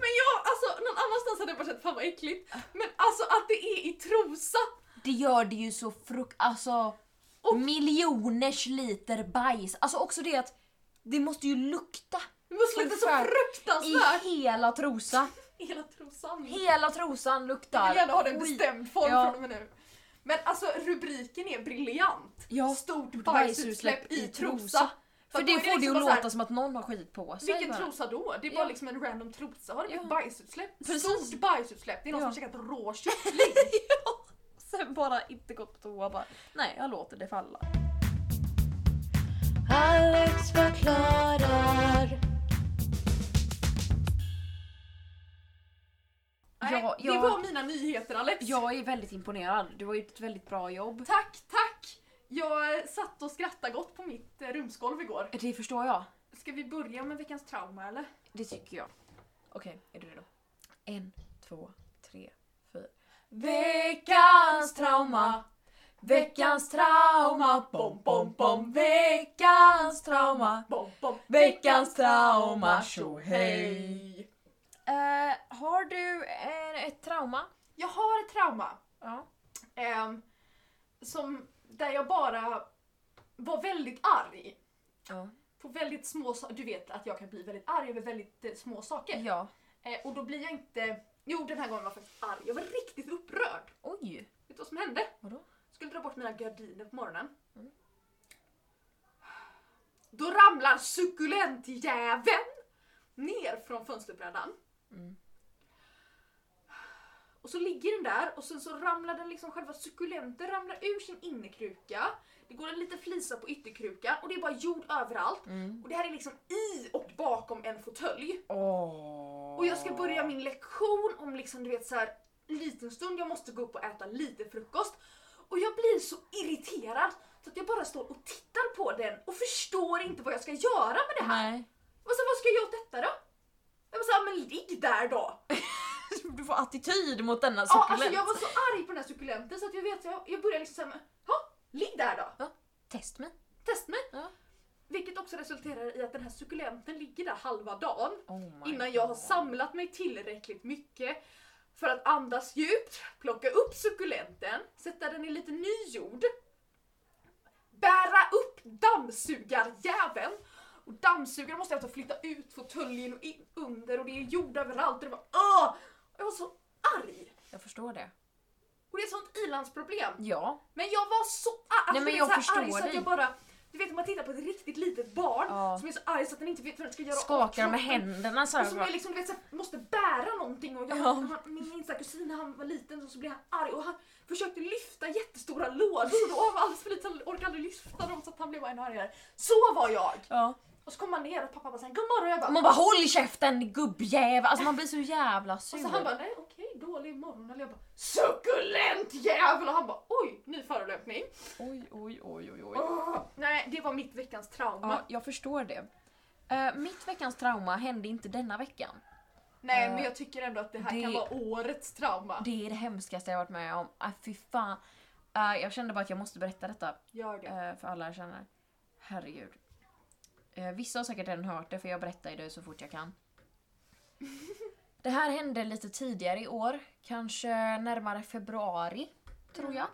Speaker 2: Men jag, alltså någon annanstans hade jag bara känt fan vad äckligt. Men alltså att det är i trosa!
Speaker 1: Det gör det ju så frukt... Alltså...
Speaker 2: Och-
Speaker 1: Miljoners liter bajs. Alltså också det att det måste ju lukta
Speaker 2: Det måste lukta så fruktansvärt!
Speaker 1: i hela trosa.
Speaker 2: I hela trosan.
Speaker 1: Hela trosan
Speaker 2: Jag vill
Speaker 1: luktar.
Speaker 2: gärna ha den
Speaker 1: skit.
Speaker 2: bestämd form
Speaker 1: Ja.
Speaker 2: från och med nu. Men alltså rubriken är briljant.
Speaker 1: Ja.
Speaker 2: Stort bajsutsläpp i Trosa.
Speaker 1: För
Speaker 2: att
Speaker 1: det
Speaker 2: då är
Speaker 1: får det ju
Speaker 2: liksom bara så här,
Speaker 1: låta som att någon har skit på sig.
Speaker 2: Vilken
Speaker 1: bara.
Speaker 2: trosa då? Det är
Speaker 1: Ja.
Speaker 2: bara liksom en random trosa. Har det blivit
Speaker 1: Ja.
Speaker 2: bajsutsläpp?
Speaker 1: Precis.
Speaker 2: Stort bajsutsläpp. Det är någon
Speaker 1: Ja.
Speaker 2: som har käkat rå kyckling.
Speaker 1: Sen bara inte gått på toa bara. Nej, jag låter det falla.
Speaker 3: Alex förklarar.
Speaker 2: Nej,
Speaker 1: Ja,
Speaker 2: Det
Speaker 1: ja.
Speaker 2: var mina nyheter Alex.
Speaker 1: Jag är väldigt imponerad. Du har gjort ett väldigt bra jobb.
Speaker 2: Tack, tack. Jag eh, satt och skrattade gott på mitt eh, rumsgolv igår.
Speaker 1: Det förstår jag.
Speaker 2: Ska vi börja med veckans trauma eller?
Speaker 1: Det tycker jag. Okej, är du redo? En, två, tre, fyra.
Speaker 2: Veckans trauma.
Speaker 1: Veckans trauma, bom, bom, bom. Veckans trauma,
Speaker 2: Bom, bom.
Speaker 1: veckans trauma, tjo hej. har du eh, ett trauma?
Speaker 2: Jag har ett trauma.
Speaker 1: Ja.
Speaker 2: Ehm, som, där jag bara var väldigt arg
Speaker 1: Ja.
Speaker 2: på väldigt små saker. Du vet att jag kan bli väldigt arg över väldigt eh, små saker.
Speaker 1: ja.
Speaker 2: Eh, och då blir jag inte... Jo, den här gången var jag faktiskt arg. Jag var riktigt upprörd.
Speaker 1: Oj.
Speaker 2: Vet du vad som hände?
Speaker 1: Vadå?
Speaker 2: Skulle dra bort mina gardiner på morgonen.
Speaker 1: Mm.
Speaker 2: Då ramlar sukulentjäveln ner från fönsterbrädan.
Speaker 1: Mm.
Speaker 2: Och så ligger den där och sen så ramlar den liksom själva sukulenten ramlar ur sin innerkruka. Det går en liten flisa på ytterkrukan och det är bara jord överallt.
Speaker 1: Mm.
Speaker 2: Och det här är liksom i och bakom en fåtölj.
Speaker 1: Åh.
Speaker 2: Och jag ska börja min lektion om liksom du vet så här liten stund, jag måste gå upp och äta lite frukost. Och jag blir så irriterad så att jag bara står och tittar på den och förstår inte vad jag ska göra med det här.
Speaker 1: Nej.
Speaker 2: Och så, vad ska jag göra åt detta då? Jag var såhär, men ligg där då!
Speaker 1: Du får attityd mot denna
Speaker 2: Ja,
Speaker 1: sukulent.
Speaker 2: alltså jag var så arg på den här sukulenten så att jag vet, jag, jag började liksom såhär, ja, ligg där då!
Speaker 1: Test mig.
Speaker 2: Test mig!
Speaker 1: Ja.
Speaker 2: Vilket också resulterar i att den här sukulenten ligger där halva dagen.
Speaker 1: Oh my
Speaker 2: innan jag har
Speaker 1: God.
Speaker 2: samlat mig tillräckligt mycket för att andas djupt, plocka upp sukulenten, sätta den i lite ny jord, bära upp dammsugarjäveln. Och dammsugaren måste jag alltså flytta ut fåtöljen och in under och det är jord överallt och det var åh! Jag var så arg!
Speaker 1: Jag förstår det.
Speaker 2: Och det är ett sånt ilandsproblem.
Speaker 1: Ja.
Speaker 2: Men jag var så arg!
Speaker 1: Nej, men
Speaker 2: du
Speaker 1: jag
Speaker 2: vet, så här
Speaker 1: förstår
Speaker 2: arg så att
Speaker 1: dig.
Speaker 2: jag bara... Du vet om man tittar på ett riktigt litet barn
Speaker 1: Ja.
Speaker 2: som är så arg så att den inte vet vad den ska göra av
Speaker 1: Skakar med
Speaker 2: kroppen.
Speaker 1: händerna så
Speaker 2: Och
Speaker 1: här.
Speaker 2: som jag liksom, du vet, så här, måste bära någonting och jag,
Speaker 1: Alltså, Ja.
Speaker 2: han, min minsta kusin han var liten och så blev han arg och han försökte lyfta jättestora lådor och han var alldeles för liten han orkade aldrig lyfta dem så att han blev ännu argare. Så var jag!
Speaker 1: Ja.
Speaker 2: Och så kom han ner och pappa bara såhär godmorgon jag bara
Speaker 1: Och Man bara HÅLL KÄFTEN gubbjävel! Alltså man blir så jävla sur.
Speaker 2: och så han bara nej okej dålig morgon eller jag bara sukulent jävel och han bara oj ny förolämpning.
Speaker 1: Oj, oj, oj, oj, oj.
Speaker 2: Åh, nej det var mitt veckans trauma.
Speaker 1: Ja, jag förstår det. Eh, mitt veckans trauma hände inte denna veckan.
Speaker 2: nej
Speaker 1: eh,
Speaker 2: men jag tycker ändå att det här
Speaker 1: det-
Speaker 2: kan vara årets trauma.
Speaker 1: Det är det hemskaste jag varit med om. Äh, fy fan. Eh, jag kände bara att jag måste berätta detta
Speaker 2: Gör det.
Speaker 1: eh, för alla jag känner. Herregud. Eh, vissa har säkert redan hört det för jag berättar ju det så fort jag kan. det här hände lite tidigare i år. Kanske närmare februari, tror jag.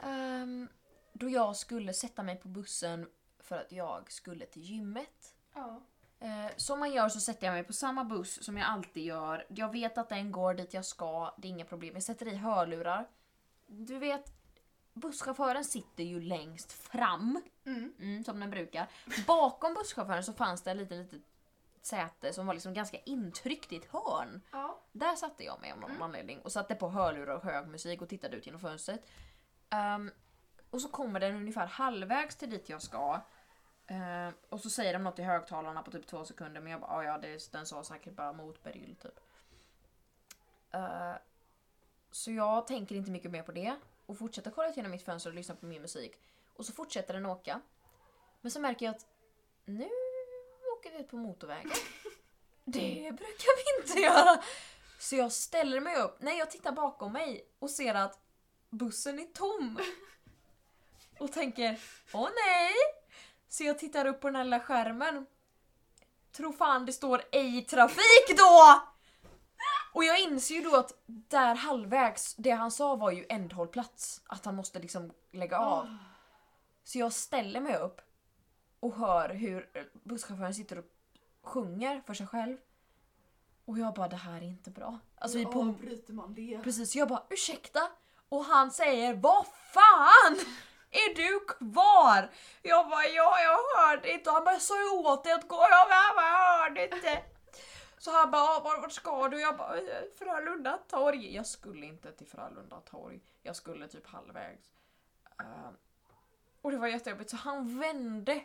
Speaker 1: Ehm, då jag skulle sätta mig på bussen för att jag skulle till gymmet.
Speaker 2: Ja.
Speaker 1: Eh, som man gör så sätter jag mig på samma buss som jag alltid gör. Jag vet att den går dit jag ska, det är inga problem. Jag sätter i hörlurar. Du vet, busschauffören sitter ju längst fram,
Speaker 2: Mm.
Speaker 1: mm, som den brukar. Bakom busschauffören så fanns det en liten, litet säte som var liksom ganska intryckt i ett hörn.
Speaker 2: Ja.
Speaker 1: Där satte jag mig av någon anledning och satte på hörlurar och hög musik och tittade ut genom fönstret. Ehm, och så kommer den ungefär halvvägs till dit jag ska. Ehm, och så säger de något i högtalarna på typ två sekunder men jag bara "Ah, ja, det, den sa säkert bara mot Beryl typ. Ehm, så jag tänker inte mycket mer på det och fortsätter kolla ut genom mitt fönster och lyssna på min musik. Och så fortsätter den åka. Men så märker jag att nu åker vi ut på motorvägen. Det brukar vi inte göra. Så jag ställer mig upp, nej jag tittar bakom mig och ser att bussen är tom. Och tänker, åh nej! Så jag tittar upp på den här lilla skärmen. Tro fan det står ej trafik då! Och jag inser ju då att där halvvägs, det han sa var ju ändhållplats. Att han måste liksom lägga
Speaker 2: Ah.
Speaker 1: av. Så jag ställer mig upp och hör hur busschauffören sitter och sjunger för sig själv. Och jag bara, det här är inte bra. Alltså vi är på
Speaker 2: avbryter man det?
Speaker 1: Precis, så jag bara ursäkta? Och han säger vad fan är du kvar? Jag bara ja, jag hörde inte. Och han bara jag sa ju åt dig att gå. Jag bara, "Men jag hörde inte. Så han bara "Ja, var- vart ska du? Jag bara "Eh, Frölunda torg. Jag skulle inte till Frölunda torg. Jag skulle typ halvvägs. Eh, och det var jättejobbigt så han vände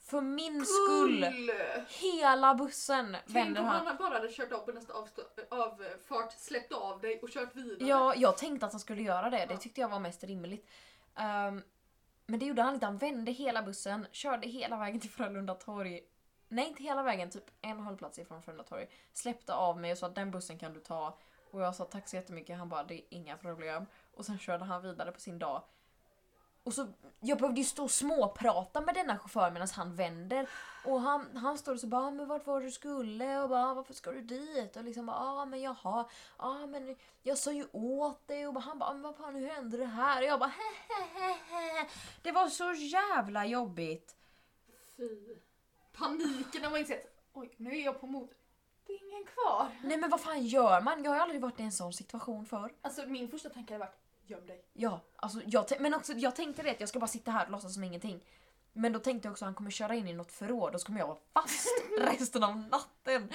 Speaker 1: för min skull.
Speaker 2: Gull!
Speaker 1: Hela bussen
Speaker 2: Tänk
Speaker 1: vände
Speaker 2: om
Speaker 1: han.
Speaker 2: han bara hade kört av på nästa avstå- avfart, släppt av dig och kört vidare.
Speaker 1: Ja, jag tänkte att han skulle göra det. Det
Speaker 2: Ja.
Speaker 1: tyckte jag var mest rimligt. Ehm, men det gjorde han inte. Han vände hela bussen, körde hela vägen till Frölunda torg. Nej, inte hela vägen. Typ en hållplats ifrån Frölunda torg. Släppte av mig och sa att den bussen kan du ta. Och jag sa tack så jättemycket. Han bara det är inga problem. Och sen körde han vidare på sin dag. Och så, jag behövde ju stå och småprata med denna chaufför medan han vänder. Och han, han står och så bara, men vart var du skulle? Och bara, varför ska du dit? Och liksom bara, ah men jaha, ah men jag sa ju åt dig. Och bara, han bara, men vad fan hur hände det här? Och jag bara, hehehe. Det var så jävla jobbigt.
Speaker 2: Fy. Paniken när man inser att oj, nu är jag på mot. Det är ingen kvar.
Speaker 1: Nej men vad fan gör man? Jag har ju aldrig varit i en sån situation förr.
Speaker 2: Alltså min första tanke hade varit göm dig.
Speaker 1: Ja, alltså jag, tän- men också, jag tänkte det att jag ska bara sitta här och låtsas som ingenting. Men då tänkte jag också att han kommer köra in i något förråd och så kommer jag vara fast resten av natten.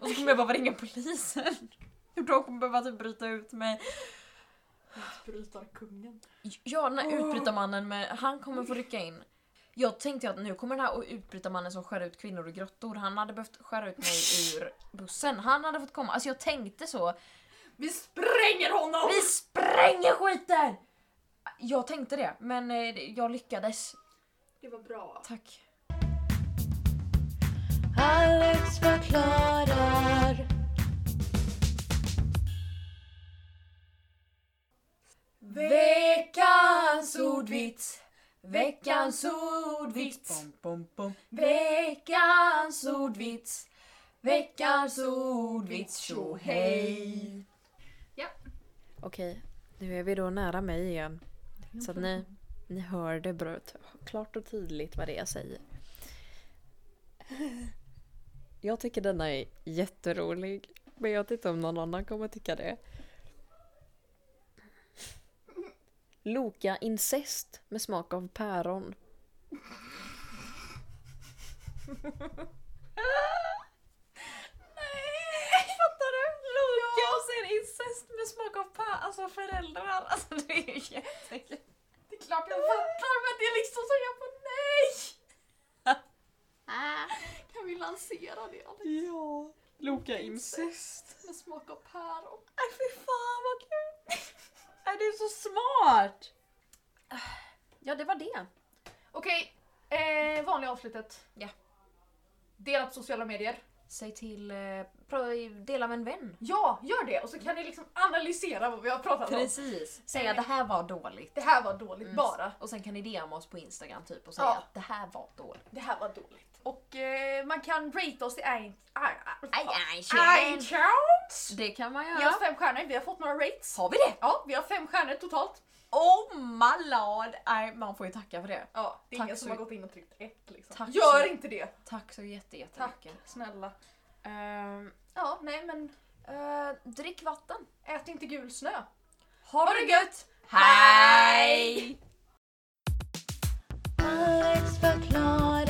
Speaker 1: och så kommer jag behöva ringa polisen. Och de kommer behöva typ bryta ut mig.
Speaker 2: Utbrytarkungen.
Speaker 1: Ja, den här utbrytarmannen med, han kommer få rycka in. Jag tänkte ju att nu kommer den här utbrytarmannen som skär ut kvinnor i grottor, han hade behövt skära ut mig ur bussen. Han hade fått komma. Alltså jag tänkte så.
Speaker 2: Vi spränger honom!
Speaker 1: Vi spränger skiten! Jag tänkte det, men eh, jag lyckades.
Speaker 2: Det var bra.
Speaker 1: Tack.
Speaker 3: Alex förklarar.
Speaker 1: Veckans ordvits. Veckans ordvits. Veckans ordvits. Veckans ordvits. Tjo hej.
Speaker 2: Ja.
Speaker 1: Okej, nu är vi då nära mig igen. Så att ni, ni hör det bra, klart och tydligt vad det är jag säger.
Speaker 4: Jag tycker denna är jätterolig. Men jag vet inte om någon annan kommer tycka det. Loka incest med smak av päron.
Speaker 1: Fattar du? Loka och sen incest med smak av pä, alltså föräldrar. Alltså det är ju jättekul.
Speaker 2: Det är klart jag fattar men det är liksom så jag bara nej!
Speaker 1: Ah.
Speaker 2: Kan vi lansera det Alex?
Speaker 4: Ja, Loka
Speaker 2: Med smak av päron.
Speaker 1: Nej Äh, fy fan vad kul! Nej du är så smart! Ja det var det.
Speaker 2: Okej, eh, vanliga avslutet.
Speaker 1: Ja.
Speaker 2: Dela på sociala medier.
Speaker 1: Säg till, eh, pra- dela med en vän.
Speaker 2: Ja, gör det! Och så kan ni liksom analysera vad vi har pratat om.
Speaker 1: Precis. Mm. Säga det här var dåligt.
Speaker 2: Det här var dåligt bara.
Speaker 1: Och sen kan ni DM oss på Instagram typ och säga
Speaker 2: Ja.
Speaker 1: att det här var dåligt.
Speaker 2: Det här var dåligt. Och eh, man kan rate oss i i-
Speaker 1: Aj,
Speaker 2: i-
Speaker 1: aj, tjena.
Speaker 2: iTunes.
Speaker 1: Det kan man göra.
Speaker 2: Ge oss fem stjärnor, vi har fått några rates.
Speaker 1: Har vi det?
Speaker 2: Ja, vi har fem stjärnor totalt.
Speaker 1: Oh my lord! Nej, man får ju tacka för det.
Speaker 2: Ja, det är
Speaker 1: Tack
Speaker 2: ingen
Speaker 1: så
Speaker 2: som har
Speaker 1: mycket.
Speaker 2: gått in och tryckt ett liksom.
Speaker 1: Tack så
Speaker 2: Gör
Speaker 1: mycket.
Speaker 2: inte det!
Speaker 1: Tack så jätte-
Speaker 2: Tack
Speaker 1: jättemycket.
Speaker 2: snälla.
Speaker 1: Ehm,
Speaker 2: Ja, nej men
Speaker 1: eh, drick vatten.
Speaker 2: ät inte gul snö.
Speaker 1: Ha,
Speaker 2: det gött!
Speaker 1: Hej!
Speaker 3: Alex förklarar.